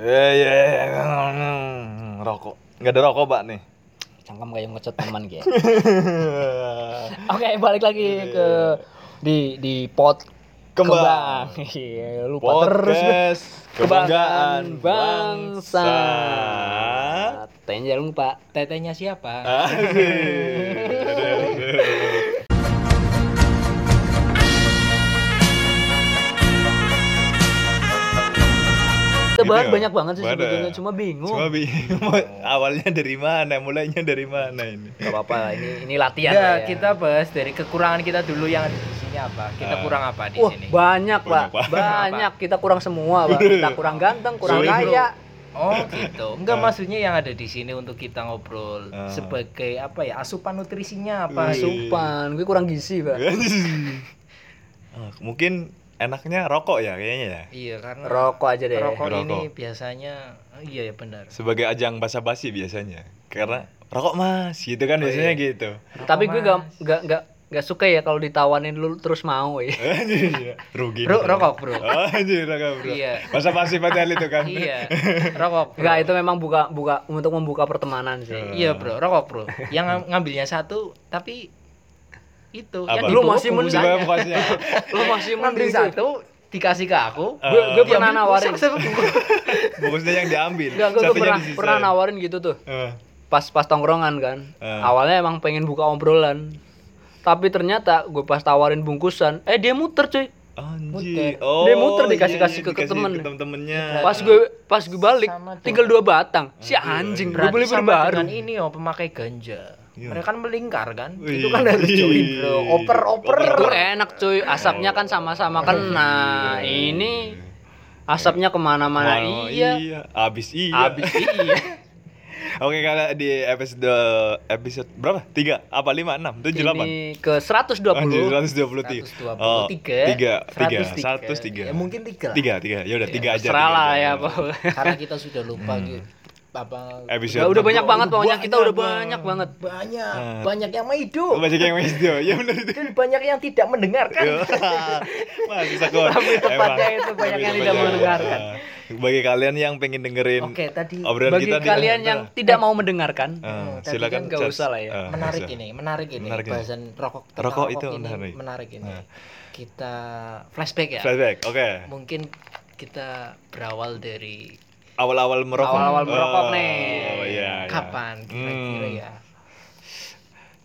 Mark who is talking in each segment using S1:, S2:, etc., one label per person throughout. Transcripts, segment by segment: S1: Ya ya. ya. Rokok. Enggak ada rokok, Pak nih.
S2: Cangkem kayak ngecat teman kayak. Oke, balik lagi ke di di pot
S1: Kembang.
S2: kembang. Iya, lupa terus.
S1: Podcast kebanggaan
S2: bangsa.
S1: bangsa.
S2: Tanya jangan lupa, tetenya siapa? iya, Kita bahas
S1: Gitu.
S2: banyak banget sih
S1: Banyak.
S2: sebetulnya, cuma bingung.
S1: Cuma bingung awalnya dari mana, mulainya dari mana ini?
S2: Gak apa-apa lah, ini ini latihan lah
S3: Ya,
S2: ya.
S3: kita bahas dari kekurangan kita dulu yang ada di sini apa? Kita
S1: Ah.
S3: kurang apa di
S2: Wah,
S3: sini?
S2: banyak, Pak.
S1: Banyak, Pak.
S2: Banyak. Kita kurang semua, Pak. Kita kurang ganteng, kurang
S1: Sulit, Bro.
S2: kaya.
S3: Oh, gitu. Eh. Enggak
S1: Ah.
S3: maksudnya yang ada di sini untuk kita ngobrol
S1: Ah.
S3: sebagai apa ya? Asupan nutrisinya apa?
S1: Wih.
S2: Supan, gue kurang gizi, Pak.
S1: Ah, Mungkin enaknya rokok ya kayaknya ya.
S3: Iya, karena
S2: Rokok aja deh.
S3: rokok
S1: Rokok.
S3: ini biasanya iya ya benar.
S1: Sebagai ajang basa-basi biasanya. Karena rokok Mas, gitu kan biasanya gitu.
S2: Tapi gue gak,
S3: Mas.
S2: gak, gak, gak suka ya kalau ditawanin lu terus mau ya.
S1: Anjir, Rugi.
S3: Bro,
S1: nih.
S3: rokok, Bro.
S1: Oh, Anjir, rokok, Bro.
S3: Iya.
S1: Basa-basi padahal itu kan.
S3: iya, rokok. Bro.
S2: Enggak, itu memang buka buka untuk membuka pertemanan sih.
S3: Iya, Bro, rokok, Bro. Yang ngam- ngambilnya satu tapi itu
S1: Apa?
S3: yang
S2: Lu
S3: dibungkus
S2: masih mending.
S1: Coba mukanya.
S2: Lu masih
S3: ngambil
S2: mending satu.
S3: satu dikasih ke aku.
S2: Gue gue
S3: diambil
S2: pernah nawarin.
S3: pusing sebelum-
S1: Fokusnya yang diambil.
S2: Enggak, gue
S1: satunya
S2: pernah
S1: disisain.
S2: pernah nawarin gitu tuh.
S1: Eh,
S2: Pas pas tongkrongan kan.
S1: Eh.
S2: Awalnya emang pengen buka obrolan. Tapi ternyata gue pas tawarin bungkusan, eh dia muter cuy.
S1: Anjir. Oh, iya,
S2: Muter. Dia muter dikasih-kasih ke temen.
S1: temennya
S2: Pas gue pas gue balik
S3: Sama dong.
S2: tinggal dua batang. Si anjing, gue
S3: Berarti
S2: beli beli
S3: sama
S2: baru.
S3: dengan ini oh pemakai ganja.
S1: Iya.
S3: Mereka kan melingkar kan.
S1: Wih.
S3: Itu kan harus join bro. Oper oper.
S2: Itu enak cuy, asapnya kan sama-sama kena. Ini asapnya iya, kemana-mana.
S1: Mana-
S2: Iya.
S1: Abis Oh, iya.
S2: Abis iya.
S1: Oke, kalau di episode episode berapa? 3 apa 5 6 7 8.
S2: Ini ke 120.
S1: Anjir, 123. Oh,
S3: 123.
S1: 3 3 103.
S3: 103. Ya, mungkin tiga lah.
S1: 3 3. Ya udah 3 aja.
S2: Serah
S1: tiga
S2: lah
S1: aja.
S2: Iya, ya, Pak.
S3: Karena kita sudah lupa gitu. Apa
S1: Hmm. Episode
S2: Udah, udah banyak banget
S3: Udah
S2: pokoknya kita udah
S1: banyak
S2: banyak banget.
S3: banyak
S1: Ah.
S3: banyak yang hidup
S1: banyak yang miss dia. Ya benar itu.
S3: dan banyak yang tidak mendengarkan.
S2: Iya.
S1: Mas Iya. bisa kok.
S2: Tapi tepatnya
S1: Emang.
S2: itu
S1: Tapi
S2: banyak yang
S1: tepatnya.
S2: tidak
S1: Eh,
S2: mendengarkan.
S1: Bagi kalian yang pengen dengerin eh,
S3: Oke, tadi-
S1: obrolan
S2: Bagi
S1: kita Ah, di-
S2: kalian yang
S1: Eh,
S2: tidak mau mendengarkan,
S3: tadi
S1: silakan
S3: kan
S2: nggak
S1: charge.
S2: usah lah
S1: Eh,
S2: ya.
S1: nggak
S3: menarik
S1: usah.
S3: ini, menarik ini
S1: Menarik ini.
S3: bahasan rokok tentang
S1: Rokok itu
S3: ini
S1: menarik. Nah.
S3: menarik, ini. Kita flashback ya.
S1: Flashback. Oke.
S3: Mungkin kita berawal dari
S1: Awal-awal merokok.
S2: Awal-awal merokok
S1: Oh,
S2: nih.
S1: iya, iya.
S3: kapan kira-kira
S1: Hmm.
S3: ya.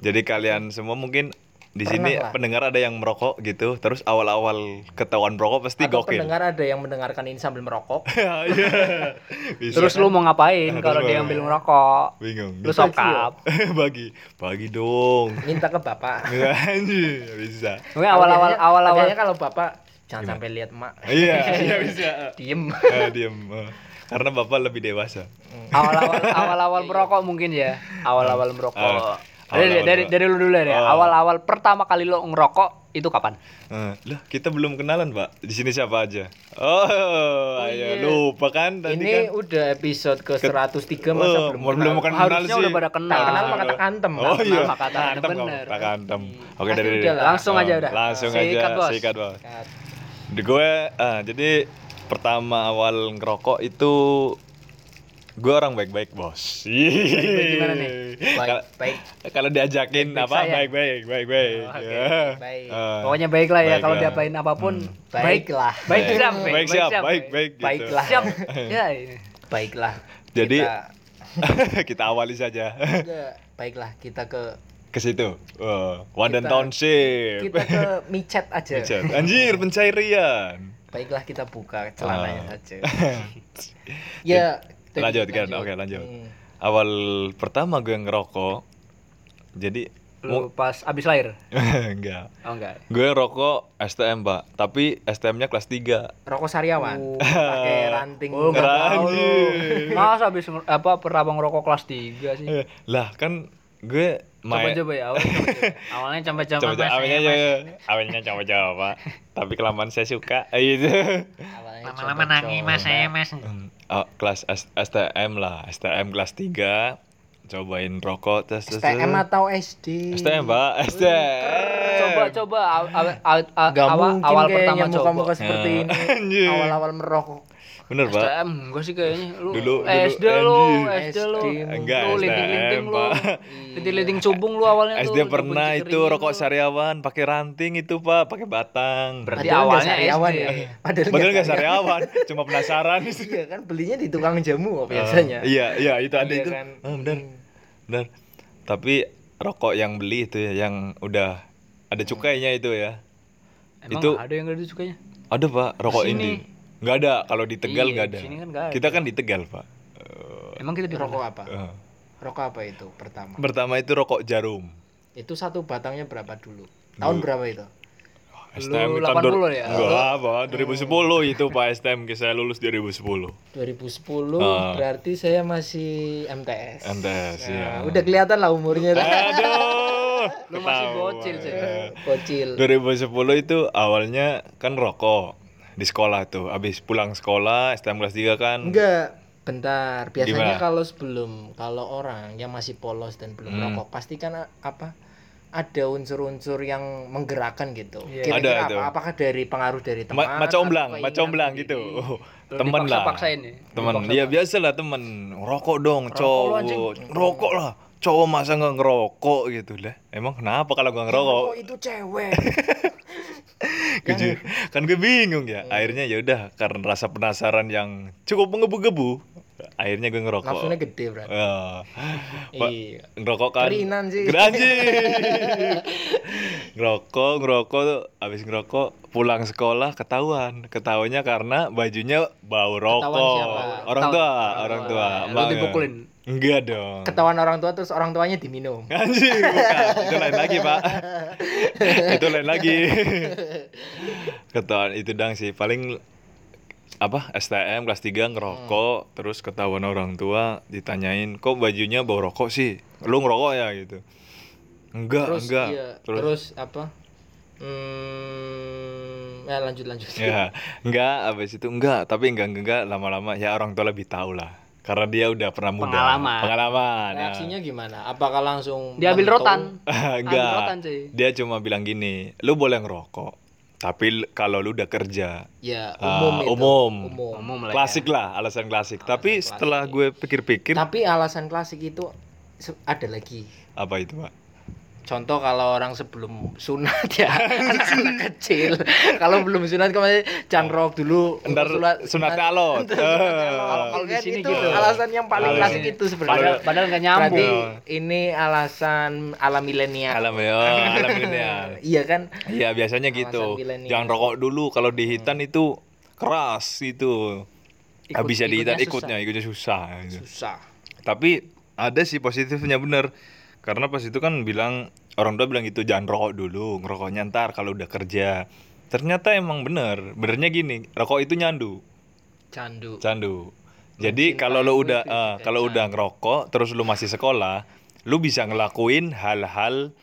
S1: Jadi kalian semua mungkin di sini
S3: Pernah lah.
S1: pendengar ada yang merokok gitu, terus awal-awal ketahuan merokok pasti
S3: Atau
S1: gokil.
S3: pendengar ada yang mendengarkan ini sambil merokok.
S1: Iya. Bisa. kan?
S2: terus lu mau ngapain
S1: Terus
S2: kalau
S1: mau
S2: dia
S1: ngapain?
S2: ambil ngerokok?
S1: bingung.
S2: Lu
S1: Bisa.
S2: sokap.
S1: bagi, bagi dong.
S3: Minta ke bapak.
S1: Anjir, bisa.
S2: Mungkin awal-awal
S3: Kayaknya-
S2: awal-awal
S3: kayaknya kalau bapak jangan sampai lihat mak.
S1: Iya, iya bisa.
S3: Diem.
S1: Eh, diam. Eh, Karena bapak lebih dewasa.
S2: awal-awal awal-awal merokok mungkin ya. Awal-awal merokok.
S1: Ah. Awal-awal
S2: Dari, dari
S1: merokok.
S2: dari lu dulu deh.
S1: Ah.
S2: Awal-awal pertama kali lu ngerokok itu kapan?
S1: Eh, lah kita belum kenalan pak. Di sini siapa aja? Oh, ayo
S3: iya.
S1: lupa kan tadi
S3: ini
S1: kan.
S3: udah episode ke 103 masa
S1: Oh,
S3: belum.
S1: belum belum kenal
S2: Harusnya
S1: sih. Eh,
S2: udah pada kenal.
S3: Tak kenal maka tak antem.
S1: Oh
S3: Tak
S1: iya,
S2: maka tak
S1: Nah,
S2: antem,
S1: antem kamu,
S2: bener.
S1: tak antem. Oke
S3: Pasti
S1: dari
S3: udah lah.
S2: Langsung aja
S1: Eh,
S2: udah.
S1: Langsung
S2: Sikat,
S1: aja
S2: Bos.
S1: sikat bos.
S3: kenal.
S1: Di gue ah, jadi pertama awal ngerokok itu gue orang baik-baik bos.
S2: Baik-baik gimana nih?
S3: Baik,
S1: Kal-
S3: baik.
S1: Kalau diajakin
S3: Baik-baik
S1: apa
S3: sayang.
S1: baik-baik baik-baik.
S3: Oh, oke,
S1: Ya.
S3: baik.
S1: Eh,
S2: Pokoknya baik lah ya
S1: baik
S2: kalau
S1: lah.
S2: diapain apapun.
S3: Baiklah.
S2: Baik
S1: Baik.
S2: siap.
S1: Hmm. Baik siap, baik baik gitu.
S3: Baiklah.
S2: Siap. Ya. iya.
S3: Baiklah.
S1: Jadi-
S3: Kita-
S1: kita awali saja
S3: Enggak. baiklah kita ke
S1: ke situ. Eh, Wandan
S3: Kita-
S1: Township.
S3: kita ke micet aja.
S1: Pecah. Anjir pencairan.
S3: Baiklah kita buka celananya
S1: Ah.
S3: saja. ya, tadi Hmm.
S1: Lanjut, kan? Oke, lanjut. Awal pertama gue ngerokok. Jadi
S2: Lu pas abis lahir.
S1: enggak.
S2: Oh enggak.
S1: Gue rokok STM, Pak. Tapi STM-nya kelas 3.
S3: Rokok sariawan.
S2: Oh.
S3: Pakai ranting.
S2: Oh, enggak tahu lu.
S1: Anjir.
S2: Mas habis nger- apa pertama ngerokok kelas 3 sih.
S1: Eh, Lah, kan gue
S2: Coba
S1: main
S2: coba ya awal. coba coba. Awalnya coba-coba.
S1: coba
S2: Mas,
S1: awalnya
S2: ya, Mas.
S1: ya. Awalnya coba-coba, Pak. Tapi kelamaan saya suka eh, gitu.
S3: Awalnya
S2: Lama-lama
S3: coba-coba.
S2: nangis mas saya mas.
S1: Hmm, oh, kelas S- STM lah, STM kelas 3. cobain rokok terus terus-
S3: STM
S1: terus.
S3: atau SD?
S1: STM mbak STM
S2: Eh. coba coba aw- aw- aw- aw-
S3: Gak
S2: awal
S3: mungkin
S2: awal pertama
S3: kayaknya
S2: coba
S3: muka-muka seperti
S1: Ya.
S3: ini
S1: Anjir.
S3: awal-awal merokok.
S1: bener pak
S2: STM enggak sih kayaknya lu
S1: Dulu- dulu,
S2: SD lu
S1: anjing.
S2: SD lu
S1: Enggak,
S2: lu
S1: STM,
S2: linting-linting lu
S1: Pak.
S2: linting-linting cubung lu awalnya tuh,
S1: SD
S2: cubung
S1: pernah
S2: kering
S1: itu
S2: lu.
S1: rokok sariawan pakai ranting itu pak pakai batang
S4: Berarti
S3: Padahal nggak
S2: awalnya
S3: sariawan
S2: SD.
S3: ya. Padahal
S1: padahal nggak
S3: sariawan.
S1: sariawan cuma penasaran sih
S3: Iya kan belinya di tukang jamu kok biasanya. Hmm.
S1: Eh, iya iya itu ada
S4: Iya
S1: itu
S4: kan.
S1: Ah, benar benar tapi rokok yang beli itu ya yang udah ada
S2: Hmm.
S1: cukainya itu ya
S2: Emang
S1: Itu-
S2: ada yang gak disukainya
S1: ada pak rokok
S2: Sini.
S1: ini nggak ada kalau di tegal
S2: Iya,
S1: nggak ada
S2: di sini kan nggak ada.
S1: kita kan di tegal pak Oh.
S2: emang kita di
S3: Rokok apa?
S1: Eh,
S3: Rokok apa itu pertama?
S1: pertama itu rokok jarum
S3: Itu satu batangnya berapa dulu? Tahun
S1: Dulu.
S3: berapa itu?
S1: STM
S2: Lu
S1: tahun dua-
S2: 80 ya?
S1: Enggak, Pak. 2010 itu Pak STM ke saya lulus 2010.
S3: 2010
S1: Ah.
S3: berarti saya masih MTS.
S1: MTS, iya.
S3: Nah, Udah kelihatan lah umurnya.
S1: Ah. Aduh.
S2: Ya. Lu masih
S1: ketahuan.
S2: bocil, sih.
S1: eh,
S3: Kocil.
S1: 2010 itu awalnya kan rokok di sekolah tuh. Habis pulang sekolah STM kelas 3 kan.
S3: Enggak, bentar.
S1: Gimana?
S3: Biasanya kalau sebelum kalau orang yang masih polos dan belum
S1: Hmm.
S3: merokok pasti kan a- apa ada unsur-unsur yang menggerakkan gitu.
S4: Iya.
S1: Ada
S3: Kira-kira
S1: itu.
S3: apa- apakah dari pengaruh dari teman?
S1: Ma maca omblang,
S3: atau
S1: maca
S3: keinginan
S1: omblang
S3: diri?
S1: gitu.
S2: kan Lu
S1: Temen lah.
S2: dipaksa-paksain ya?
S1: Temen,
S2: Dipaksa-paksain.
S1: ya biasa lah temen. Rokok dong,
S2: Rokok lu, anjing.
S1: cowok. Rokok lah. Cowok masa nggak ngerokok gitu lah. Emang kenapa kalau gua
S2: Iya,
S1: ngerokok?
S3: Merokok Oh, itu cewek.
S1: Keju- kan gue bingung
S3: Iya.
S1: ya akhirnya ya udah karena rasa penasaran yang cukup menggebu-gebu akhirnya gue ngerokok
S3: Nafsunya gede berarti.
S1: Eh, Pak,
S3: Iya.
S1: ngerokok kan
S3: Kerinan sih.
S1: Anjing. ngerokok ngerokok tuh abis ngerokok pulang sekolah ketahuan ketahuannya karena bajunya bau rokok
S3: siapa?
S1: orang tua
S2: Ketahuan.
S1: orang tua
S2: Lu
S1: Mbak,
S2: dipukulin
S1: enggak dong
S3: Ketahuan orang tua terus orang tuanya diminum.
S1: Anjing, bukan. Itu lain lagi, Pak. itu lain lagi. Ketahuan itu dang sih. Paling apa STM kelas 3 ngerokok
S3: Hmm.
S1: terus ketahuan orang tua ditanyain kok bajunya bau rokok sih lu ngerokok ya gitu enggak
S3: Terus
S1: enggak
S3: iya, terus,
S1: terus,
S3: apa? Hmm, ya lanjut lanjut.
S1: ya enggak abis itu enggak tapi enggak enggak, enggak lama-lama ya orang tua lebih tahu lah karena dia udah pernah muda
S2: Pengalaman.
S1: pengalaman ya.
S3: Reaksinya gimana? Apakah langsung
S2: diambil
S3: mentok?
S2: rotan
S1: enggak
S2: Ambil rotan, cuy.
S1: dia cuma bilang gini lu boleh ngerokok tapi l- kalau lu udah kerja
S3: Ya,
S1: Ah,
S3: umum itu.
S1: umum.
S2: Umum lah ya.
S1: klasik lah alasan klasik tapi
S3: klasik.
S1: setelah gue pikir-pikir
S3: Tapi alasan klasik itu se- ada lagi.
S1: apa itu pak
S3: Contoh kalau orang sebelum sunat ya anak-anak kecil. Kalau belum sunat kemarin jangan rok dulu.
S1: ntar sunatnya alot
S3: Kalau
S1: Eh,
S3: kalau di sini
S2: gitu.
S3: gitu. Alasan yang paling
S1: Kalau di
S3: klasik
S1: sini.
S3: itu
S2: padahal
S3: sebenarnya.
S2: padahal nggak
S3: Berarti
S2: nyambung
S3: ini alasan ala milenial.
S1: alam ya alam milenial.
S3: Iya kan?
S1: Iya biasanya
S3: Alasan
S1: gitu
S3: milenial.
S1: jangan rokok dulu kalau di hitan itu keras itu
S2: Ikut-
S1: habisnya di hitan ikutnya
S2: ikutnya
S1: ikutnya susah gitu.
S3: Susah.
S1: tapi ada sih positifnya bener karena pas itu kan bilang orang tua bilang gitu jangan rokok dulu ngerokoknya ntar kalau udah kerja ternyata emang bener benernya gini rokok itu nyandu
S3: Candu.
S1: candu jadi
S3: Mencintai
S1: kalau lo
S3: itu
S1: udah
S3: juga
S1: eh, kalau
S3: candu.
S1: udah ngerokok terus lu masih sekolah lu bisa ngelakuin hal-hal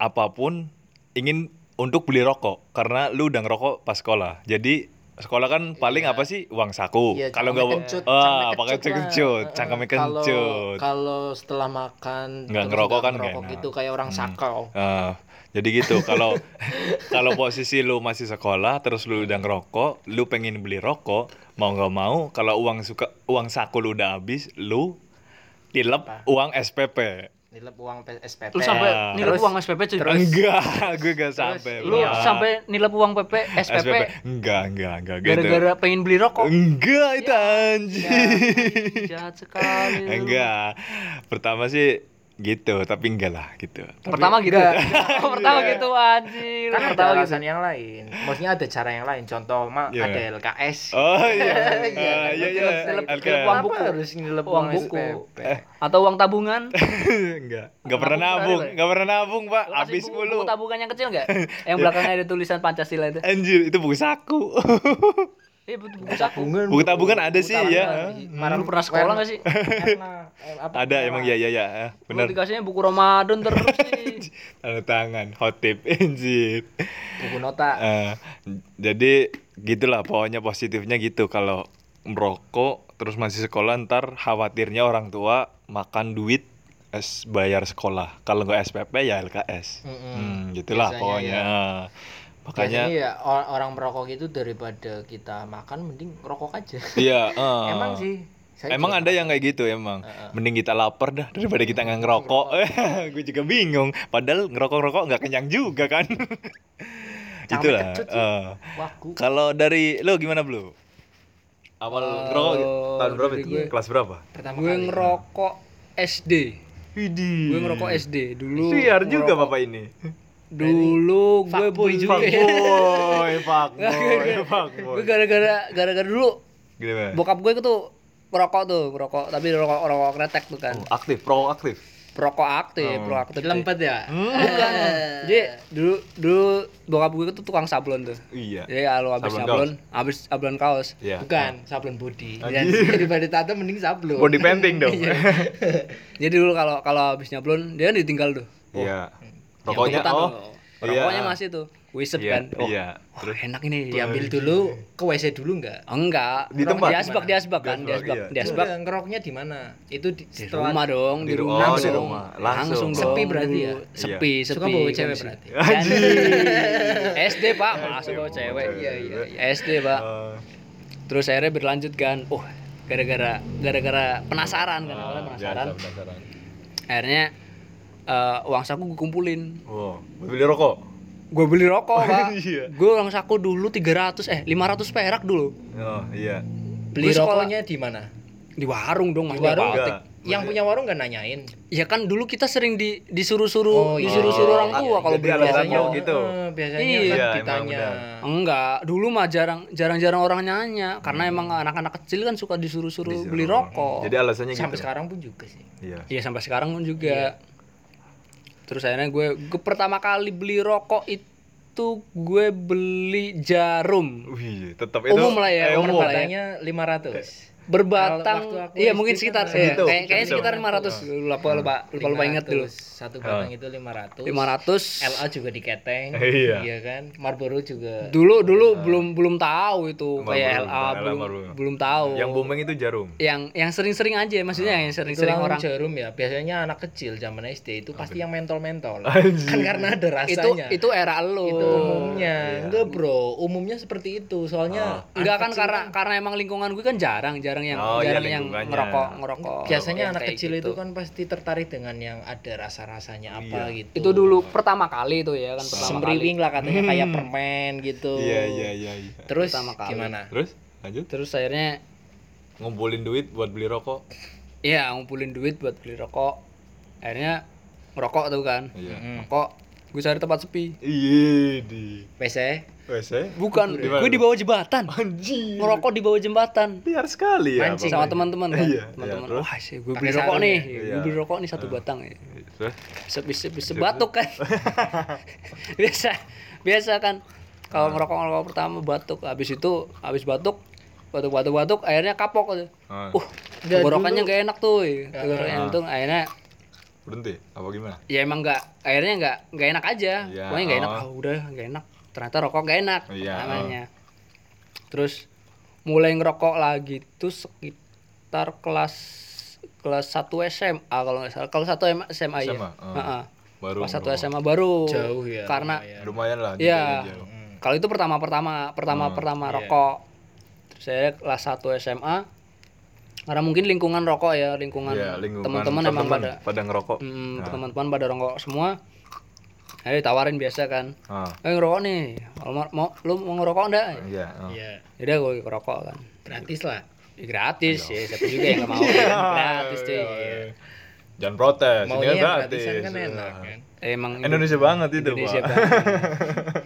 S1: apapun ingin untuk beli rokok karena lu udah ngerokok pas sekolah jadi sekolah kan paling
S3: Iya.
S1: apa sih uang saku
S3: Iya,
S1: kalau nggak
S3: cangkemnya kencut,
S1: ah
S3: cangkemnya
S1: pakai
S3: kencut lah.
S1: kencut
S3: Heeh.
S1: cangkemnya
S3: Kalau-
S1: kencut
S3: Kalau setelah makan
S1: Nggak
S3: terus
S1: ngerokok kan nggak
S3: ngerokok
S1: enak.
S3: gitu kayak orang
S1: Hmm.
S3: sakau.
S1: Ah, jadi gitu kalau kalau posisi lu masih sekolah terus lu udah ngerokok, lu pengen beli rokok, mau nggak mau kalau uang suka uang saku lu udah habis, lu tilep
S3: Apa?
S1: uang SPP.
S3: Nilep uang P-
S2: lu
S3: SPP.
S1: Nah.
S2: sampai
S1: Iya.
S2: nilai
S3: Terus-
S2: uang SPP cuy
S1: Enggak, gue gak sampai.
S2: lu
S1: Pak.
S2: sampai nilai uang PP SPP
S1: SPP. Enggak, enggak, enggak gitu.
S2: gara-gara pengen beli rokok Ya
S1: Enggak itu anjing.
S2: jahat sekali lu.
S1: enggak. Pertama sih gitu, tapi enggak lah gitu. Tapi-
S2: pertama gitu Oh, pertama gitu anjir
S3: kan ada
S2: pertama gitu
S3: alasan yang lain. Maksudnya ada cara yang lain. Contoh mak
S1: Iya.
S3: ada LKS.
S1: Oh iya.
S3: Iya,
S1: Ah, Iya, iya.
S2: Tilep- tilep
S1: Oke.
S2: uang
S3: Kenapa
S2: buku.
S3: harus nilep
S2: Uang
S3: uang,
S2: buku.
S3: SPP?
S2: atau uang tabungan
S1: enggak enggak pernah
S2: Nabung
S1: nabung
S2: berapa ya?
S1: enggak pernah nabung pak
S2: Lu kasih
S1: habis
S2: buku-
S1: mulu
S2: buku tabungan yang kecil nggak yang belakangnya ada tulisan pancasila itu
S1: anjir itu buku saku
S2: eh buku buku saku
S1: buku tabungan ada sih
S2: tabungan.
S1: ya
S2: Marah lu pernah sekolah nggak sih
S3: Warna, eh, apa,
S1: ada emang ya
S3: merah.
S1: ya ya eh,
S2: Lu
S1: bener
S2: dikasihnya buku Ramadan terus sih.
S1: tanda tangan hot tip anjir
S3: Buku nota.
S1: Eh, jadi gitulah pokoknya positifnya gitu kalau merokok terus masih sekolah ntar khawatirnya orang tua makan duit es bayar sekolah. Kalau nggak SPP ya LKS. Hmm, gitulah
S3: Biasanya ya.
S1: pokoknya. Makanya
S3: Biasanya ya or- orang merokok itu daripada kita makan mending rokok aja.
S1: iya, eh.
S3: ya. Emang sih. saya
S1: Emang
S3: juga-
S1: ada yang kayak gitu emang. Mending kita lapar dah daripada kita nggak ngerokok. Gue juga bingung. Padahal ngerokok-ngerokok nggak kenyang juga kan. Itulah.
S3: kecut sih.
S1: eh.
S3: Waku.
S1: Kalau dari lo gimana Blu? Awal ngerokok gitu? tahun berapa
S2: dari
S1: itu?
S2: gue-
S1: Kelas berapa?
S3: Pertama
S2: Gue
S3: kali.
S2: ngerokok SD.
S1: Idi.
S2: Gue
S1: Hmm.
S2: ngerokok SD dulu.
S1: Siar juga
S2: ngerokok-
S1: bapak ini.
S2: Dulu gue
S3: Fuckboy
S2: beli-
S1: Fuckboy,
S2: Nggak,
S1: fuckboy,
S2: gue-
S1: fuckboy.
S2: Gue gara-gara gara-gara dulu
S1: Gimana?
S2: bokap gue tuh ngerokok tuh, ngerokok tapi ngerokok ngerokok kretek tuh kan.
S1: Oh, aktif, pro aktif.
S2: Perokok aktif,
S1: Oh.
S2: perokok aktif.
S3: Lempet ya.
S2: Bukan. Jadi dulu dulu bokap gue tuh tukang sablon tuh.
S1: Iya.
S2: Jadi kalau habis
S1: Sablon
S2: sablon, habis sablon kaos. Iya.
S1: Iya.
S3: Bukan sablon body.
S1: Ah,
S3: Ya,
S1: gitu.
S3: daripada tato mending sablon.
S1: Body painting dong.
S2: Jadi dulu kalau kalau habis nyablon dia kan ditinggal tuh.
S1: Iya. Rokoknya
S2: Kebetulan
S1: oh.
S2: tuh. Rokoknya masih tuh. Wisep
S1: Iya,
S2: kan. Oh,
S1: iya.
S2: wah, enak ini.
S3: Diambil dulu ke WC dulu enggak?
S2: Enggak.
S1: Di tempat?
S2: Diasbak, diasbak kan,
S1: Diasbak,
S2: diasbak,
S1: iya.
S2: diasbak.
S3: Udah, ngeroknya di mana? Itu di,
S2: Di
S3: setelah
S2: rumah dong, di,
S1: Di ru-
S2: rumah.
S1: oh,
S3: di
S2: dong.
S1: rumah. Langsung.
S2: Langsung. dong.
S3: Sepi berarti ya?
S2: Dulu. Sepi,
S1: Iya.
S2: sepi.
S3: Suka bawa cewek
S2: kondisi.
S3: berarti?
S2: Anjir. SD, Pak. Masa bawa cewek.
S1: Iya, iya,
S2: SD, Pak. Terus akhirnya berlanjut kan. Oh, gara-gara gara-gara penasaran kan awalnya penasaran.
S1: penasaran.
S2: Akhirnya eh, uang saku gue kumpulin.
S1: Wow, buat Oh, beli rokok.
S2: Gue beli rokok, Pak.
S1: Iya.
S2: Gue uang saku dulu 300 eh 500 perak dulu.
S1: Oh, iya.
S2: Beli
S3: beli
S2: sekolah
S3: rokoknya di mana?
S2: di warung dong, Mas. Di warung.
S3: warung?
S1: Enggak.
S3: Yang punya warung enggak nanyain.
S2: Ya kan dulu kita sering di
S3: Oh,
S2: disuruh-suruh
S3: iya.
S2: disuruh-suruh orang
S3: Iya,
S2: tua kalau
S1: jadi
S2: beli
S1: alasan
S2: biasanya.
S1: Oh, gitu.
S3: eh, biasanya
S2: Iya,
S3: kan
S1: emang
S3: ditanya.
S1: benar.
S2: Enggak, dulu mah jarang jarang-jarang orang nanya karena emang anak-anak kecil kan suka disuruh-suruh beli rokok.
S1: Jadi alasannya gitu.
S3: Sampai sekarang pun juga sih.
S1: Iya.
S2: Iya sampai sekarang pun juga. Terus akhirnya gue, gue pertama kali beli rokok itu gue beli jarum
S1: Wih, tetap itu.
S2: umum lah ya,
S1: eh,
S2: umum lah ya.
S3: Katanya 500.
S2: Berbatang,
S3: Kalau waktu aku
S2: iya
S3: SD
S2: mungkin
S3: kan
S2: sekitar,
S3: masih
S2: iya,
S1: gitu,
S2: kayak, kayaknya
S1: gitu.
S2: sekitar 500 lupa lupa lupa, lupa inget dulu.
S3: 500, Satu batang itu 500.
S2: 500.
S3: LA juga diketeng.
S1: Ah. Iya.
S3: kan? Marlboro juga.
S2: Dulu dulu belum belum tahu itu
S1: Marlboro,
S2: kayak LA
S1: LA,
S2: belum
S1: Marlboro.
S2: belum tahu.
S1: Yang booming itu jarum.
S2: yang yang sering-sering aja maksudnya yang
S3: Itu
S2: sering-sering orang
S3: langsung jarum ya. Biasanya anak kecil zaman SD itu pasti yang mentol-mentol.
S1: Anjir.
S3: kan karena ada
S2: itu
S3: rasanya.
S2: itu era lo
S3: Itu umumnya.
S1: Iya. Ah.
S3: Enggak, Bro. Umumnya seperti itu. Soalnya
S2: enggak kan karena karena emang lingkungan gue kan jarang jarang yang
S1: Oh, iya,
S2: jarang yang
S1: lingkungannya.
S2: ngerokok
S1: Oh,
S2: ngerokok
S3: biasanya
S2: yang
S3: anak
S2: kayak
S3: kecil
S2: gitu.
S3: itu kan pasti tertarik dengan yang ada rasa-rasanya apa
S1: Iya.
S3: gitu.
S2: itu dulu pertama kali itu ya kan pertama kali
S3: semriwing lah katanya kayak permen gitu.
S1: Hmm. Iya, iya, iya, iya.
S3: Terus
S2: Pertama kali.
S3: gimana?
S1: Terus lanjut
S2: terus akhirnya
S1: ngumpulin duit buat beli rokok.
S2: ya ngumpulin duit buat beli rokok akhirnya ngerokok tuh kan
S1: Iya.
S3: Hmm.
S2: rokok gue cari tempat sepi
S1: Iya di E.
S3: WC
S1: WC.
S2: bukan
S1: Di mana?
S2: gue di bawah jembatan
S1: Anjir.
S2: ngerokok di bawah jembatan
S1: Liar sekali ya.
S3: Mancing.
S2: sama
S1: Bapak.
S2: teman-teman kan
S1: Iya, iya,
S2: teman-teman
S1: terus?
S2: wah sih gue
S3: Pakai
S2: beli
S3: sarung
S2: rokok nih
S1: ya?
S2: gue
S1: Iya.
S2: beli rokok nih satu batang ya
S1: Terus
S2: sebis sebis sebatuk kan biasa biasa kan
S1: Nah.
S2: kalau ngerokok ngerokok pertama batuk habis itu habis batuk batuk batuk batuk akhirnya kapok tuh
S1: Ah,
S2: uh tenggorokannya nggak enak tuh ya. tenggorokannya
S1: Ah.
S2: untung akhirnya
S1: berhenti apa gimana?
S2: ya emang nggak akhirnya nggak nggak enak aja
S1: Iya,
S2: pokoknya nggak enak
S1: oh.
S2: ah udah nggak enak ternyata rokok nggak enak
S1: Iya,
S2: namanya terus mulai ngerokok lagi tuh sekitar kelas kelas 1 SMA kalau nggak salah kalau satu SMA ya
S1: Sama, ah.
S2: Heeh.
S1: Baru
S2: kelas Oh, satu
S1: ngerokok.
S2: SMA baru
S3: jauh ya.
S2: karena
S3: lumayan. Hmm.
S1: Lumayan lah.
S2: Iya.
S1: jaraknya jauh.
S2: kalau itu pertama pertama pertama
S1: Hmm.
S2: pertama
S3: Iya.
S2: rokok terus saya kelas 1 SMA karena mungkin lingkungan rokok ya lingkungan,
S1: Iya, lingkungan
S2: teman-teman emang pada
S1: pada ngerokok.
S2: hmm,
S1: Nah.
S2: teman-teman pada rokok semua akhirnya ditawarin biasa kan
S1: Ah,
S2: eh ngerokok nih kalau mau, mau lu mau ngerokok enggak
S1: iya. ah.
S3: Iya.
S2: jadi gue ngerokok kan
S3: Gratis lah.
S2: Ya, gratis ya siapa juga yang nggak mau ya. gratis cuy
S1: Jangan protes, ini kan
S3: Maunya yang
S1: gratis.
S3: gratisan kan enak
S1: Ah.
S3: kan.
S2: Eh, emang
S1: Indonesia banget itu,
S2: Indonesia kan.
S1: Pak.
S2: banget.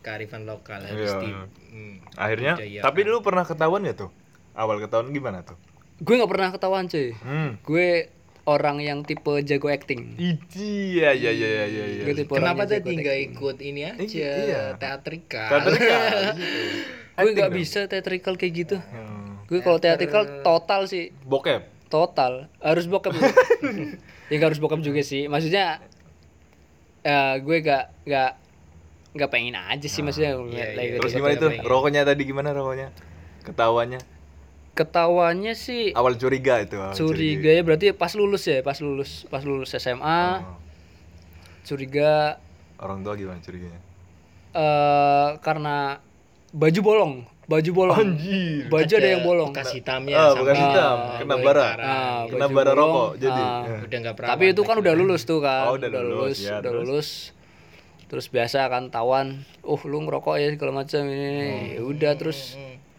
S3: Kearifan lokal harus
S1: Iya.
S3: di hmm.
S1: Akhirnya,
S2: Iya,
S3: Budaya.
S1: tapi dulu pernah ketahuan ya tuh? Awal ketahuan gimana tuh?
S2: gue nggak pernah ketahuan cuy
S1: Hmm.
S2: gue orang yang tipe jago acting
S1: Iji, ya ya ya ya ya. ya.
S2: Gue tipe
S3: Hmm. Kenapa
S2: orangnya
S3: tadi
S2: jago
S3: nggak
S2: acting.
S3: ikut ini aja
S1: Iya, iya.
S3: teatrikal?
S1: Teatrikal.
S2: gue nggak bisa theatrical kayak gitu
S1: Hmm.
S2: gue kalau theatrical total sih
S1: Bokep.
S2: total harus bokep ya gak harus bokep juga sih maksudnya eh gue gak gak gak pengen aja sih maksudnya
S3: iya,
S2: lagi
S3: iya.
S1: Ah, Terus
S2: gitu.
S1: gimana itu? Rokoknya tadi gimana rokoknya? Ketawanya?
S2: ketahuannya sih
S1: awal curiga itu awal
S2: curiga ya berarti pas lulus ya pas lulus pas lulus SMA
S1: Oh.
S2: curiga
S1: orang tua gimana curiganya
S2: eh karena baju bolong baju bolong
S1: anjir
S2: baju ada yang bolong
S3: bekas hitamnya
S1: ah
S3: sama
S1: bekas hitam
S2: Ah,
S1: kena
S3: boleh
S1: bara
S3: parah.
S2: Ah,
S1: kena
S2: baju
S1: bara
S2: bolong.
S1: rokok jadi
S2: Ah.
S1: Eh.
S3: udah nggak perawan
S2: tapi itu kan
S3: lagi.
S2: udah lulus tuh kan
S1: Oh, udah lulus, ya,
S2: udah
S1: terus?
S2: lulus terus biasa kan tawan uh lu ngerokok ya segala macam
S1: Oh.
S2: ini Ya udah
S3: Hmm,
S2: terus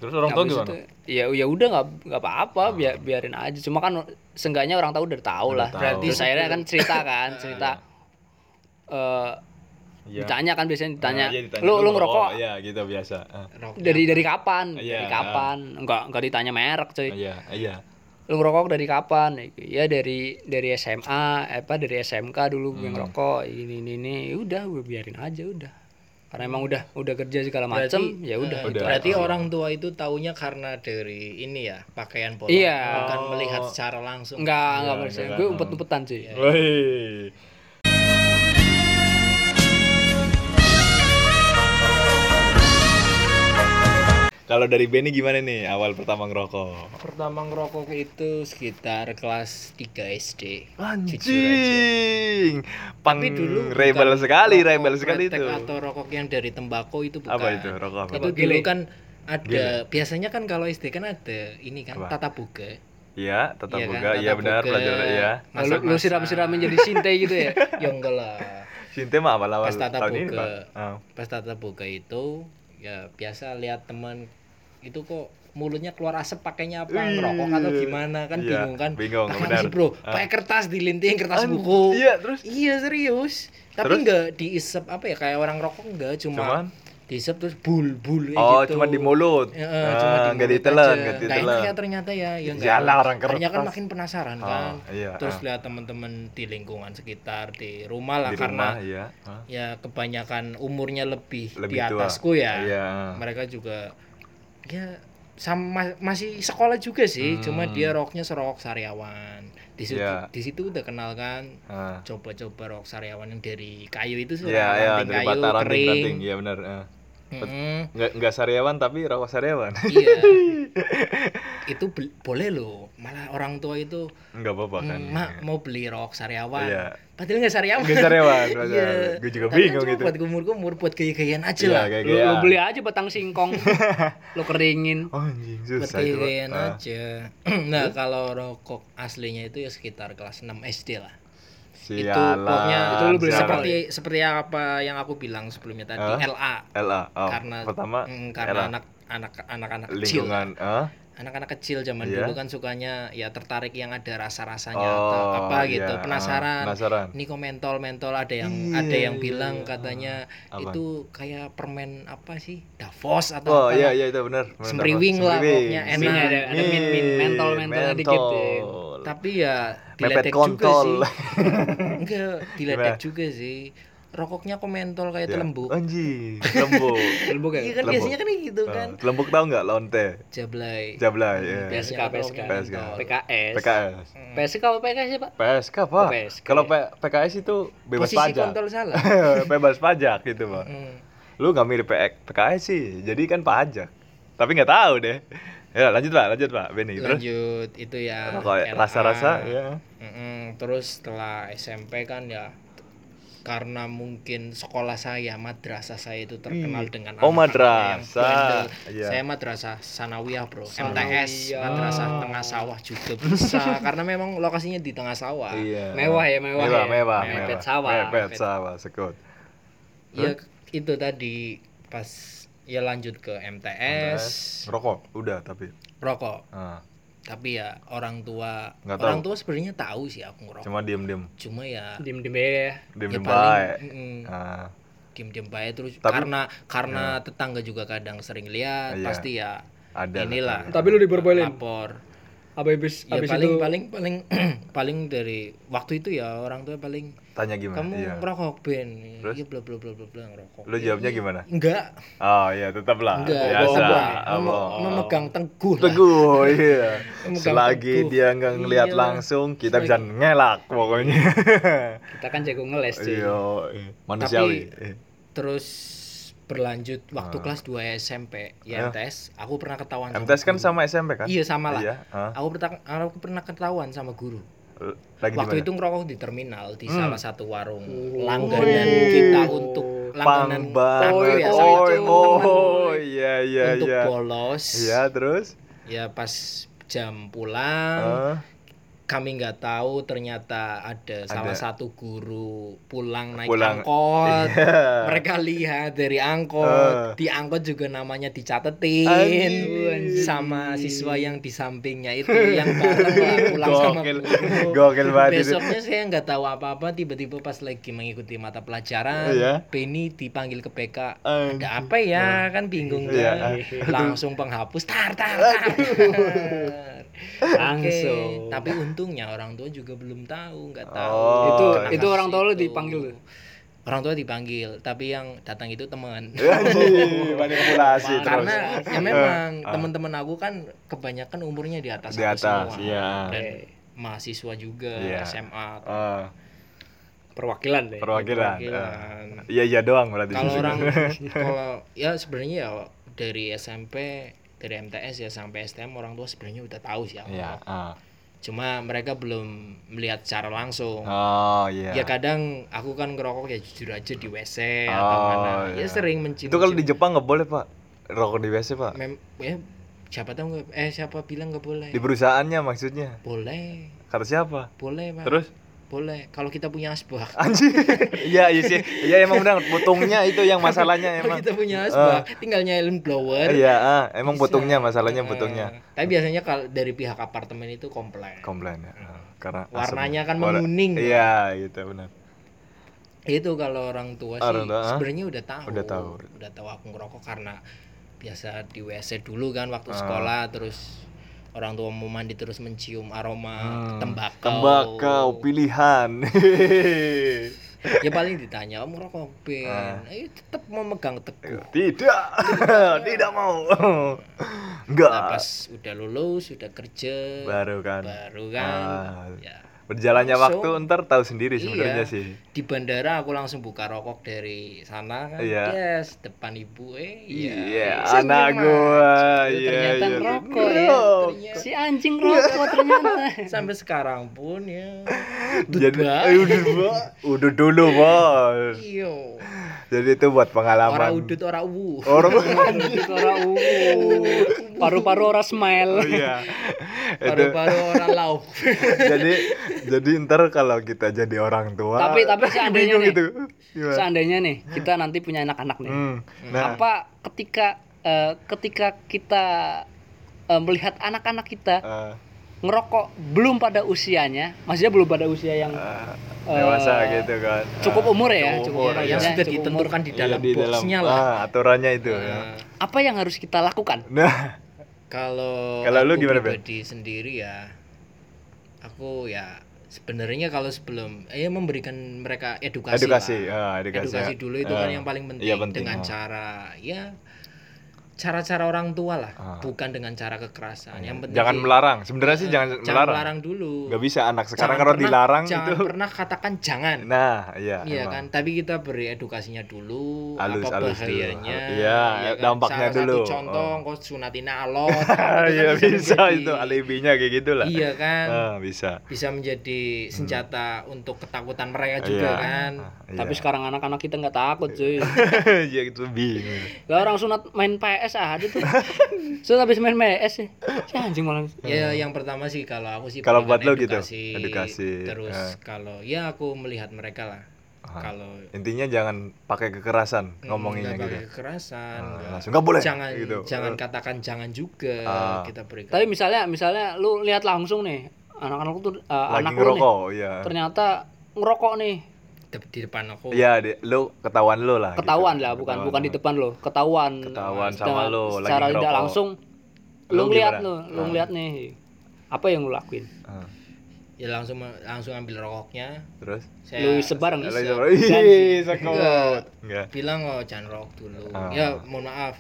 S1: terus orang tua
S2: habis
S1: gimana
S2: itu, ya ya udah nggak nggak
S1: Ah.
S2: apa-apa biar biarin aja cuma kan seenggaknya orang tahu udah tahu lah
S1: tahu.
S2: berarti terus akhirnya kan cerita kan cerita eh
S1: Iya.
S2: ditanya kan biasanya ditanya,
S1: Ah, iya, ditanya.
S2: lu lu ngerokok
S1: ya gitu biasa Ah,
S2: dari dari kapan
S1: Iya,
S2: dari kapan enggak enggak ditanya merek cuy
S1: iya iya
S2: lu ngerokok dari kapan ya dari dari SMA apa dari SMK dulu
S1: Hmm.
S2: gue ngerokok ini ini ini Ya udah gue biarin aja udah karena emang udah udah kerja segala macem ya udah
S3: Eh,
S1: Udah.
S3: berarti orang tua itu taunya karena dari ini ya pakaian pola
S2: Iya.
S3: bukan
S1: Oh.
S3: melihat secara langsung
S2: enggak enggak
S1: Iya,
S2: maksudnya
S1: enggak,
S2: gue
S1: enggak.
S2: umpet umpetan cuy
S1: Iya. Woi. Kalau dari Benny gimana nih awal pertama ngerokok?
S3: pertama ngerokok itu sekitar kelas 3 SD
S1: Anjing. Pang
S3: tapi dulu
S1: rebel
S3: bukan
S1: sekali,
S3: rokok
S1: rebel sekali
S3: kretek
S1: itu.
S3: atau rokok yang dari tembakau itu bukan
S1: Apa itu rokok apa?
S3: itu dulu kan ada biasanya kan kalau SD kan ada ini kan
S1: Apa?
S3: tata buka
S1: Iya, tetap
S3: Iya kan,
S1: boga. Iya
S3: tatap
S1: benar,
S3: muka.
S1: pelajaran ya.
S2: Nah, lu, lu
S3: Masak-masak.
S2: siram-siramin jadi sinte gitu ya
S3: ya enggak lah
S1: Sinte mah awal-awal
S3: Pas tatap
S1: tahun ini,
S3: muka.
S1: Pak. Ah.
S3: pas tata buka itu ya biasa lihat teman itu kok mulutnya keluar asap pakainya apa
S1: Wih.
S3: ngerokok atau gimana kan
S1: Iya,
S3: bingung kan
S1: bingung,
S3: Apaan
S1: benar.
S3: sih, bro
S1: Ah.
S3: pakai kertas dilinting kertas
S1: An-
S3: buku
S1: Iya, terus
S3: iya serius tapi
S1: Terus?
S3: enggak diisep apa ya kayak orang rokok enggak cuma
S1: cuman
S3: diisep terus bul bul kayak
S1: Oh,
S3: gitu.
S1: cuma di mulut.
S3: Heeh, cuma
S1: Ah,
S3: di
S1: Enggak
S3: mulut
S1: ditelan, enggak
S3: aja. Nggak enak
S1: ditelan.
S3: ya ternyata ya ya nggak
S1: Iyalah,
S3: enak.
S1: orang
S3: Akhirnya kan
S1: kertas.
S3: makin penasaran
S1: Ah,
S3: kan
S1: iya,
S3: terus
S1: ah.
S3: lihat teman-teman di lingkungan sekitar di rumah lah
S1: Di
S3: karena
S1: rumah, iya. Ah.
S3: ya kebanyakan umurnya lebih, di
S1: Lebih tua.
S3: atasku ya
S1: Iya.
S3: mereka juga ya sama masih sekolah juga sih cuma
S1: Hmm.
S3: dia roknya serok sariawan di situ
S1: Iya.
S3: di situ udah kenal kan
S1: Ah.
S3: coba-coba rok sariawan yang dari kayu itu sih
S1: Iya,
S3: orang
S1: iya,
S3: ranting
S1: dari
S3: kayu
S1: bata ranting,
S3: kering
S1: ranting. Iya benar. ah.
S3: Mm-mm.
S1: Nggak, nggak sariawan tapi rokok sariawan.
S3: iya itu bel- boleh loh malah orang tua itu
S1: Nggak apa-apa kan.
S3: "Mm, mak mau beli rok sariawan
S1: Iya.
S3: padahal nggak sariawan
S1: Nggak sariawan.
S3: iya
S1: Gue juga
S3: Tapi kan
S1: bingung
S3: cuma
S1: gitu.
S3: buat kumur-kumur buat gaya-gayaan aja
S1: Iya,
S3: lah
S1: kayak
S2: lu, lu
S1: gaya.
S2: beli aja batang singkong lu keringin
S1: Oh, anjing
S3: buat
S1: susah itu.
S3: gaya-gayaan
S1: Ah.
S3: aja nah kalau rokok aslinya itu ya sekitar kelas 6 SD lah itu
S1: Sialan,
S3: pokoknya
S2: Itu lu beli
S1: sialan.
S2: apa?
S3: seperti seperti apa yang aku bilang sebelumnya tadi
S1: Hah?
S3: LA
S1: LA. Oh,
S3: karena kan?
S1: pertama
S3: mm, karena
S1: LA.
S3: anak anak anak anak kecil
S1: lingkungan. ah.
S3: anak-anak kecil zaman
S1: Iya.
S3: dulu kan sukanya ya tertarik yang ada rasa-rasanya atau
S1: Oh,
S3: apa
S1: iya,
S3: gitu
S1: ah,
S3: penasaran
S1: penasaran.
S3: ini kok mentol-mentol ada yang
S1: Iya,
S3: ada yang
S1: iya,
S3: bilang
S1: iya,
S3: katanya
S1: ah. Apa?
S3: itu kayak permen apa sih Davos atau
S1: Oh
S3: apa ya?
S1: iya iya itu benar. benar,
S3: Semriwing
S1: benar.
S3: lah,
S1: Semriwing.
S3: pokoknya enak.
S2: Minnya ada- ada min- min, mentol-mentolnya dikit, ya.
S1: Mentol.
S3: tapi ya
S1: Mepet
S3: diledek juga
S1: kontol.
S3: sih enggak diledek
S1: Gimana?
S3: juga sih rokoknya kok mentol kayak
S1: Ya.
S3: telembuk
S1: Anjing, telembuk.
S2: Telbuk
S3: iya
S2: ya
S3: kan
S1: telembuk.
S3: biasanya kan gitu kan
S1: Ah, telembuk tahu enggak lonte?
S3: jablay
S1: Jablay. iya.
S2: PSK, PSK.
S1: PSK.
S2: PKS
S1: PKS.
S2: PSK apa PKS ya pak
S1: PSK pak.
S2: Oh, PSK.
S1: Kalau P- PKS itu bebas
S3: posisi
S1: pajak.
S3: kontol salah
S1: bebas pajak gitu pak.
S3: Hmm.
S1: Lu nggak mirip PK PKS sih, jadi kan pajak. Tapi nggak tahu deh. Ya lanjut pak, lanjut pak Benny. Terus
S3: lanjut itu ya Nah,
S1: rokok
S3: LA.
S1: rasa-rasa ya.
S3: Mm-mm, terus setelah SMP kan ya karena mungkin sekolah saya madrasah saya itu terkenal
S1: Ih.
S3: dengan
S1: Oh,
S3: anak-anaknya yang
S1: madrasah.
S3: bandel.
S1: Iya.
S3: saya madrasah sanawiyah bro MTS madrasah tengah sawah juga bisa karena memang lokasinya di tengah sawah
S1: Iya.
S2: mewah ya mewah,
S1: Mewah,
S2: ya.
S1: mewah,
S2: mepet
S1: mewah.
S2: sawah
S1: Mepet sawah, sekut. Iya.
S3: ya itu tadi pas ya lanjut ke MTS
S1: Rokok, udah tapi.
S3: rokok
S1: Ah,
S3: tapi ya orang tua
S1: Nggak
S3: orang
S1: tahu.
S3: tua sebenarnya tahu sih aku ngerokok
S1: cuma diem-diem,
S3: cuma ya
S2: diem diem ya
S1: diem-diem
S3: ya paling,
S1: baik.
S3: mm-mm.
S1: Ah,
S3: diem-diem baik terus
S1: Tapi-
S3: karena karena tetangga juga kadang sering lihat
S1: Iya.
S3: pasti ya
S1: ada. lah.
S3: inilah
S2: tapi lu diperboleh
S3: lapor
S2: abis
S3: ya
S2: abis
S3: paling
S2: itu
S3: paling paling paling dari waktu itu ya orang tua paling
S1: Tanya gimana?
S3: kamu
S1: Iya.
S3: ngerokok Ben
S1: Terus?
S3: iya bla bla bla bla bla ngerokok
S1: Lu jawabnya gimana?
S3: enggak
S1: Oh iya, tetap lah.
S3: enggak
S1: Biasa.
S3: bohong. Mem-
S1: Allah.
S3: memegang teguh lah.
S1: Teguh, iya.
S3: Memegang
S1: Selagi
S3: teguh.
S1: dia nggak ngelihat
S3: Iya.
S1: langsung, kita bisa ngelak pokoknya.
S2: kita kan jago ngeles cuy
S1: Iya, manusiawi.
S3: terus berlanjut waktu
S1: Ah.
S3: kelas 2 SMP
S1: Ya.
S3: ya MTS aku pernah ketahuan sama
S1: MTS kan
S3: guru.
S1: sama SMP kan?
S3: iya sama lah
S1: Iya. ah.
S3: aku pernah aku pernah ketahuan sama guru
S1: L- Lagi
S3: waktu
S1: di
S3: itu ngerokok di terminal di
S1: Hmm.
S3: salah satu warung langganan kita untuk langganan
S1: Pang banget.
S3: langganan
S1: Oi,
S3: ya, sama
S1: oi,
S3: temen-temen
S1: oi, iya iya
S3: untuk
S1: iya.
S3: bolos
S1: Iya, terus
S3: ya pas jam pulang
S1: Ah,
S3: kami nggak tahu ternyata ada, salah
S1: Ada.
S3: satu guru pulang naik
S1: Pulang.
S3: angkot
S1: iya.
S3: mereka lihat dari
S1: Eh.
S3: angkot di angkot juga namanya dicatetin
S1: Anjir.
S3: sama siswa yang di sampingnya itu yang bareng lah, pulang sama
S1: Gokil.
S3: guru.
S1: Gokil banget itu.
S3: besoknya saya nggak tahu apa-apa tiba-tiba pas lagi mengikuti mata pelajaran
S1: Iya.
S3: Benny dipanggil ke BK
S1: Anjir.
S3: ada apa ya kan bingung
S1: Iya.
S3: kan langsung penghapus tar tar tar langsung tapi untungnya orang tua juga belum tahu nggak tahu
S1: Oh, Itu-
S2: itu orang tua lu
S3: Itu.
S2: dipanggil tuh?
S3: orang tua dipanggil tapi yang datang itu teman
S1: Iya, Anjir, manipulasi terus.
S3: karena ya
S2: Eh,
S3: memang teman-teman aku kan kebanyakan umurnya di atas
S1: Di
S3: aku
S1: atas,
S3: semua.
S1: iya.
S3: dan mahasiswa juga
S1: Iya.
S3: SMA
S1: Ah,
S2: Perwakilan deh.
S1: perwakilan. ah.
S3: perwakilan.
S1: Iya iya doang berarti.
S3: kalau
S1: sih.
S3: orang kalau ya sebenarnya ya dari SMP dari MTS ya sampai STM orang tua sebenarnya udah tahu sih aku.
S1: Iya. ah.
S3: cuma mereka belum melihat secara langsung
S1: Oh iya.
S3: ya kadang aku kan ngerokok ya jujur aja di WC
S1: Oh,
S3: atau mana
S1: iya.
S3: ya sering mencium
S1: Itu kalau di Jepang nggak boleh pak rokok di WC pak.
S3: Mem ya siapa tahu nggak eh siapa bilang nggak boleh
S1: Di perusahaannya maksudnya.
S3: boleh
S1: Kata siapa?
S3: boleh pak
S1: Terus? Ah,
S3: boleh kalau kita punya asbak
S1: Anjir. Iya iya sih. Iya emang benar. Potongnya itu yang masalahnya
S3: kalau
S1: emang. Ah.
S3: kita punya asbak tinggal nyalain blower
S1: Iya ah, emang
S3: bisa.
S1: potongnya masalahnya
S3: Eh,
S1: potongnya.
S3: tapi biasanya kalau dari pihak apartemen itu komplek
S1: Komplain ya. ah, Karena asap.
S3: Warnanya kan
S1: Warna-
S3: menguning.
S1: Iya gitu benar.
S3: Ya itu kalau orang tua sih
S1: Orang tua, ah?
S3: sebenarnya udah tahu
S1: Udah tahu.
S3: udah tahu aku ngerokok karena biasa di WC dulu kan waktu
S1: Ah.
S3: sekolah terus orang tua mau mandi terus mencium aroma
S1: Hmm,
S3: tembakau
S1: Tembakau pilihan.
S3: ya paling ditanya kamu ngerokok Ben eh, tetap mau megang teguh
S1: Ah. Tidak. Tidak mau. Enggak.
S3: nah, pas udah lulus sudah kerja
S1: Baru kan.
S3: baru kan
S1: Ah.
S3: ya
S1: Berjalannya waktu
S3: Langsung.
S1: ntar tahu sendiri
S3: Iya.
S1: sebenarnya sih.
S3: di bandara aku langsung buka rokok dari sana kan
S1: Iya.
S3: yes depan ibu eh
S1: Iya,
S3: Saya
S1: anak
S3: bilang,
S1: gua.
S3: "Mas,
S1: Iya,
S3: ternyata
S1: iya.
S3: ngerokok ya
S1: Ngerokok.
S3: ternyata."
S2: Si anjing rokok ternyata.
S3: sampai sekarang pun ya
S1: Jadi, eh, udut, Pak. udut dulu, Bos.
S3: iyo
S1: Jadi itu buat pengalaman.
S3: ora udut ora uwu
S1: Orang
S2: Itu ora ungu. uh. Paru-paru
S1: Oh,
S2: ora smile.
S1: iya. itu,
S3: baru-baru ora lau
S1: jadi jadi ntar kalau kita jadi orang tua.
S2: Tapi- tapi seandainya
S1: bingung
S2: nih.
S1: itu. Gimana?
S2: Seandainya nih kita nanti punya anak-anak nih.
S1: Hmm. Nah,
S2: Apa ketika eh, ketika kita eh, melihat anak-anak kita
S1: eh,
S2: ngerokok belum pada usianya, maksudnya belum pada usia yang
S1: eh, dewasa
S2: eh,
S1: gitu kan.
S2: cukup
S1: Eh,
S2: umur ya,
S1: cukup
S2: cukup
S1: umur,
S2: umur
S1: iya.
S3: yang
S2: ya,
S3: sudah
S2: cukup umur.
S3: ditentukan di
S1: iya,
S3: dalam
S1: di dalam-
S3: boxnya lah
S1: ah, aturannya itu. ya.
S3: Nah,
S2: Apa yang harus kita lakukan?
S1: Nah,
S3: kalau
S1: Kalau lu
S3: aku
S1: gimana, Ben?
S3: pribadi sendiri ya aku ya sebenarnya kalau sebelum eh memberikan mereka edukasi
S1: edukasi, ah,
S3: lah.
S1: edukasi.
S3: edukasi dulu itu kan
S1: Ah,
S3: yang paling penting,
S1: iya, penting.
S3: dengan
S1: Ah.
S3: cara ya cara-cara orang tua lah
S1: Ah.
S3: bukan dengan cara kekerasan Nah, yang penting
S1: Jangan
S3: sih,
S1: melarang. Sebenarnya sih
S3: eh,
S1: jangan,
S3: jangan
S1: melarang.
S3: melarang dulu
S1: Gak bisa anak sekarang
S3: Jangan
S1: kalau
S3: pernah-
S1: dilarang
S3: jangan
S1: itu.
S3: pernah katakan jangan
S1: Nah, iya.
S3: Iya
S1: emang.
S3: kan, tapi kita beri edukasinya dulu,
S1: Halus,
S3: apa
S1: halus dulu.
S3: bahayanya,
S1: Iya,
S3: ya kan?
S1: dampaknya
S3: Salah
S1: dulu.
S3: Satu contoh,
S1: Oh.
S3: kau sunatin alot,
S1: Ah,
S3: itu kan
S1: Iya bisa
S3: menjadi-
S1: itu alibinya kayak gitulah.
S3: Iya kan,
S1: Ah, bisa.
S3: bisa menjadi senjata untuk ketakutan mereka
S1: Iya.
S3: juga kan.
S1: Ah, iya.
S2: Tapi sekarang anak-anak kita nggak takut cuy.
S1: ya itu bingung.
S2: Lah orang sunat main PS aja tuh. sunat habis main PS ya. Si anjing malah.
S3: Ya yang pertama sih kalau aku sih
S1: Hmm. Kalau buat
S3: berikan
S1: lo gitu,
S3: edukasi,
S1: edukasi,
S3: terus
S1: eh.
S3: kalau ya aku melihat mereka lah.
S1: Ah.
S3: Kalau hmm,
S1: Intinya jangan pakai kekerasan ngomonginnya
S3: nggak
S1: gitu.
S3: pakai kekerasan,
S1: Ah,
S3: nggak-
S1: langsung nggak boleh
S3: Jangan
S1: gitu.
S3: jangan
S1: Ah.
S3: katakan jangan juga
S1: Ah.
S3: kita berikan.
S2: Tapi misalnya misalnya lu lihat langsung nih anak-anak tuh eh,
S1: Lagi
S2: anak lu nih
S1: ngerokok, iya.
S2: ternyata ngerokok nih.
S3: Di- di depan aku.
S1: Iya, di- lu ketahuan lu lah. gitu.
S2: Ketahuan lah bukan
S1: Ketahuan
S2: bukan
S1: lu.
S2: di depan lo, ketahuan.
S1: Ketahuan sama
S2: Dengan-
S1: lu, lagi
S2: Secara tidak
S1: ngerokok.
S2: langsung
S1: Lu
S2: lu ngeliat
S1: gimana?
S2: lu, lu
S1: Ah.
S2: ngeliat nih. Apa yang lu lakuin?
S1: Ah,
S3: Ya langsung langsung ambil rokoknya.
S1: Terus?
S3: Saya
S2: Lu sebarang.
S1: Lu
S2: Bisa.
S1: coba, Ih, sekut. Iya. Enggak.
S3: bilang oh jangan rokok dulu.
S1: Ah.
S3: Ya mohon maaf.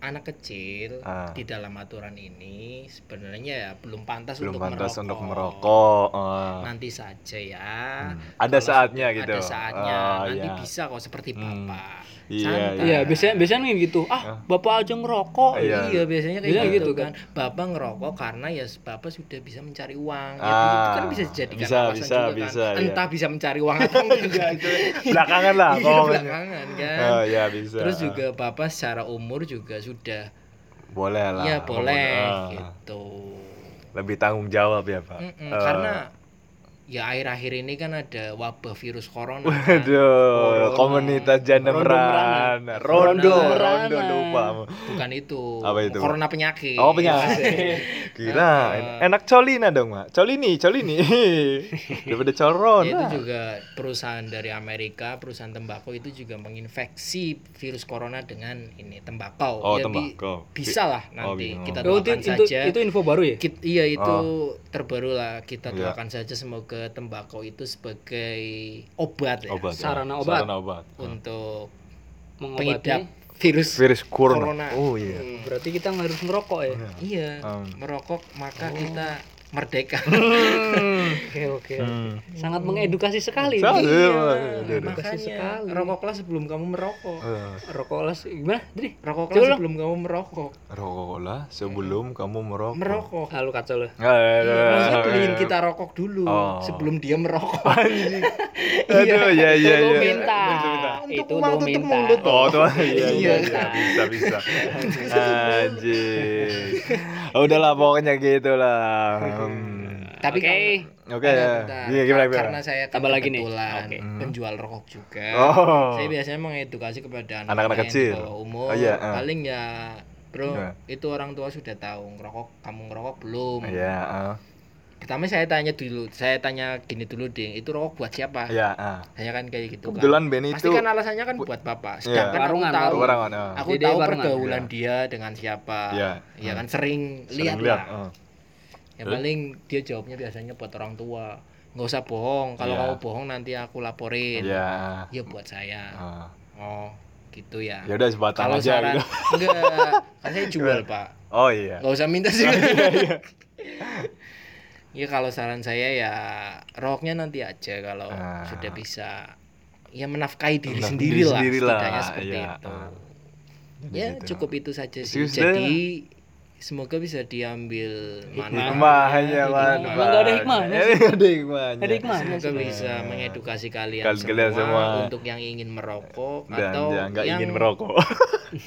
S3: Anak kecil
S1: Ah.
S3: di dalam aturan ini sebenarnya ya belum pantas
S1: Belum
S3: untuk
S1: pantas
S3: merokok.
S1: untuk merokok. Ah.
S3: Nanti saja ya.
S1: Hmm. Ada
S3: Kalau
S1: saatnya gitu.
S3: Ada saatnya.
S1: Ah,
S3: Nanti
S1: iya.
S3: bisa kok seperti
S1: Hmm.
S3: bapak.
S1: Iya,
S3: santai.
S2: Iya, biasanya biasanya gitu. Ah, Bapak aja ngerokok.
S1: Iya.
S3: Iya biasanya kayak
S2: Biasanya
S3: gitu,
S2: gitu
S3: kan. Bapak ngerokok karena ya bapak sudah bisa mencari uang. Ya,
S1: Ah,
S3: itu kan bisa dijadikan
S1: bisa,
S3: alasan
S1: bisa,
S3: juga kan.
S1: bisa, iya.
S3: Entah bisa mencari uang atau enggak gitu.
S1: Belakangan lah
S3: Iya,
S1: kalau
S3: belakangan kan.
S1: Oh iya bisa.
S3: Terus juga bapak secara umur juga sudah
S1: boleh lah.
S3: ya boleh
S1: Ah,
S3: gitu.
S1: Lebih tanggung jawab ya, Pak.
S3: Mm-mm,
S1: Eh,
S3: Karena ya akhir-akhir ini kan ada wabah virus corona. kan.
S1: Aduh, komunitas janda
S2: Rondo
S1: meran. Rondo,
S3: Rondo
S1: rondo
S2: meranan.
S1: lupa.
S3: Bukan itu.
S1: Apa itu, Pak?
S3: Corona penyakit. Iya,
S1: Oh penyakit. Gila,
S3: Nah,
S1: enak colina dong, Mak. Colini, colini. Daripada
S3: Ya, itu
S1: corona.
S3: juga perusahaan dari Amerika, perusahaan tembakau itu juga menginfeksi virus corona dengan ini tembakau.
S1: Oh,
S3: Ya, bi-
S1: tembakau. gitu.
S3: Bisa lah nanti
S1: bisa.
S3: kita
S2: Oh, itu,
S3: doakan
S2: itu,
S3: saja.
S2: itu info baru ya?
S3: Kit- iya itu terbaru lah
S1: Oh.
S3: kita
S1: Iya.
S3: doakan saja semoga tembakau itu sebagai obat ya
S1: Obat. ya.
S2: Sarana obat.
S1: Sarana obat.
S3: untuk pengidap
S2: Mengobati.
S3: virus.
S1: Virus corona.
S3: Corona.
S1: Oh iya.
S2: Berarti kita nggak harus ngerokok ya?
S3: Iya,
S1: Um.
S3: merokok maka
S2: Oh.
S3: kita merdeka.
S2: Oke, oke.
S1: Hmm.
S2: Sangat mengedukasi sekali.
S1: Salah,
S2: nih.
S1: Iya, aduh, aduh.
S2: Makasih
S3: Makanya
S2: sekali.
S3: Iya, rokoklah sebelum kamu merokok.
S1: Eh,
S2: Rokok lah se- gimana? Jadi
S3: Rokoklah
S2: Coba.
S3: sebelum kamu merokok.
S1: Rokoklah sebelum kamu merokok.
S3: Merokok.
S2: ah, lu kacau lu.
S1: Eh, eh, eh,
S3: Iya, Maksudnya
S1: eh.
S3: beliin kita rokok dulu
S1: Oh.
S3: sebelum dia merokok. Iya.
S1: Aduh, ya ya
S2: Itu
S1: ya.
S2: lu minta. Itu
S3: Untuk uang
S2: lu
S3: tutup
S2: minta.
S3: mulut.
S1: Oh, tuh. Iya, iya, iya.
S2: Iya.
S1: Bisa, bisa. Anjir. Oh, Udahlah pokoknya gitulah. Hmm.
S3: Tapi
S2: Oke.
S1: Oke. Iya, gimana
S3: gimana,
S1: gimana?
S3: Nah, Karena saya kan
S2: Tambah lagi nih.
S3: kebetulan
S2: Oke.
S3: penjual rokok juga.
S1: Oh.
S3: Saya biasanya mengedukasi kepada anak
S1: Anak-anak kecil.
S3: umur.
S1: Oh, iya, ah.
S3: Paling ya Bro,
S1: Gimana?
S3: itu orang tua sudah tahu ngerokok, kamu ngerokok belum?
S1: Iya, ah.
S3: Pertama saya tanya dulu, saya tanya gini dulu, Ding, itu rokok buat siapa?
S1: Iya, ah.
S3: Saya kan kayak gitu kan.
S1: Kebetulan Benny
S3: Pasti
S1: itu Iya.
S3: kan alasannya kan buat bapak. Sedangkan aku
S2: Warungan,
S3: tahu,
S1: warungan, ah.
S3: aku
S2: Jadi
S3: tahu
S2: warungan.
S3: pergaulan dia dengan siapa.
S1: Iya.
S3: Iya kan sering,
S1: sering
S3: lihat
S1: lihat,
S3: lah.
S1: ah.
S3: Ya paling dia jawabnya biasanya buat orang tua. Nggak usah bohong. Kalau
S1: Iya.
S3: kamu bohong nanti aku laporin.
S1: Iya.
S3: Ya buat saya.
S1: ah.
S3: Oh, gitu ya.
S1: Ya udah sebatang
S3: Kalau
S1: aja
S3: saran
S1: gitu.
S3: enggak, kan saya jual, Pak.
S1: Oh iya.
S3: Nggak usah minta sih. Ya kalau saran saya ya roknya nanti aja kalau
S1: Ah.
S3: sudah bisa ya menafkahi diri
S1: Menafkahi
S3: sendiri
S1: diri
S3: lah
S1: sendiri lah,
S3: setidaknya seperti
S1: iya,
S3: itu.
S1: ah. Jadi
S3: Ya
S1: gitu.
S3: cukup itu saja sih.
S1: Serius deh.
S3: Jadi semoga bisa diambil
S1: ya, Hikmahnya
S3: Nah, hikmahnya.
S1: manfaat.
S2: Emang nggak ada hikmahnya sih?
S1: Nggak ada hikmahnya.
S2: Ada hikmah.
S3: Semoga bisa mengedukasi kalian,
S1: Iya. Kalian-
S3: semua,
S1: kalian semua.
S3: untuk yang ingin merokok
S1: Dan
S3: atau
S1: jangan- nggak
S3: yang
S1: ingin merokok.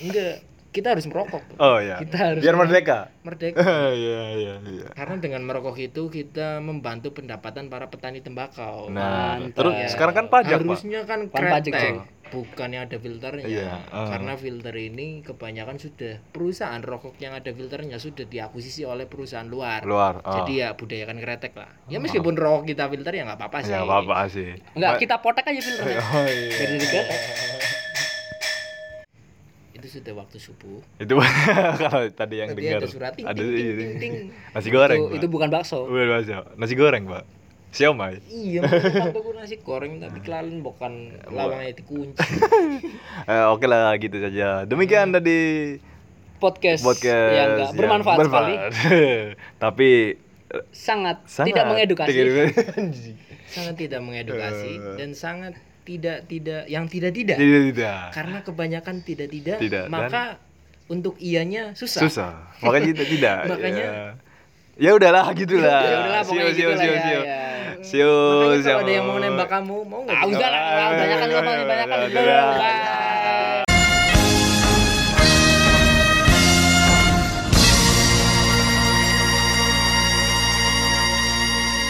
S3: Enggak, kita harus merokok. Bro.
S1: Oh iya.
S3: Kita harus
S1: Biar merdeka.
S3: merdeka.
S1: Iya iya iya.
S3: Karena dengan merokok itu kita membantu pendapatan para petani tembakau. Ya.
S1: Nah,
S2: Mantap.
S1: terus sekarang kan pajak, Pak.
S3: Oh, Harusnya kan
S2: Kan pajak,
S3: kretek,
S2: Pak.
S3: bukan yang ada filternya.
S1: Iya, eh.
S3: Karena filter ini kebanyakan sudah perusahaan rokok yang ada filternya sudah diakuisisi oleh perusahaan luar.
S1: Luar. ah.
S3: Jadi ya budayakan kretek lah. Ya meskipun rokok kita filter ya nggak apa-apa sih.
S1: Ya apa-apa sih.
S2: Enggak, kita potek aja filternya.
S1: Oh, iya.
S2: Jadi diketek.
S3: Itu sudah waktu subuh.
S1: Itu kalau tadi yang
S3: Tadi
S1: dengar
S3: ada surat ting,
S1: ada
S3: ting,
S1: iya,
S3: ting, ting, ting.
S1: nasi goreng.
S2: Itu,
S1: Pak.
S2: itu bukan bakso.
S1: Bukan bakso. Nasi goreng, Pak. Siomay.
S3: Iya, makanya aku nasi goreng tapi kelalen bukan
S1: Ya,
S3: lawangnya dikunci.
S1: Eh, oke lah gitu saja. Demikian
S3: Hmm.
S1: tadi
S2: Podcast,
S1: podcast iya,
S2: yang enggak
S1: yang
S2: bermanfaat sekali.
S1: Tapi
S2: Sangat,
S1: sangat
S2: tidak mengedukasi.
S1: Tidak
S3: sangat tidak mengedukasi
S1: Eh.
S3: dan sangat tidak tidak yang tidak tidak
S1: tidak. tidak.
S3: karena kebanyakan tidak tidak,
S1: Tidak, dan-
S3: maka untuk ianya susah.
S1: Susah. Makanya kita tidak.
S3: Makanya-
S1: Ya, ya udahlah gitulah.
S2: Ya udahlah,
S1: Siu,
S2: pokoknya
S1: siu,
S2: gitu lah
S1: siu,
S2: ya,
S1: siu.
S2: ya.
S1: Siu,
S3: Makanya kalau
S1: siapa?
S3: ada yang mau nembak kamu mau nggak? iya.
S2: Ah, udah lah, udah banyak kan lu banyak kan. Bye.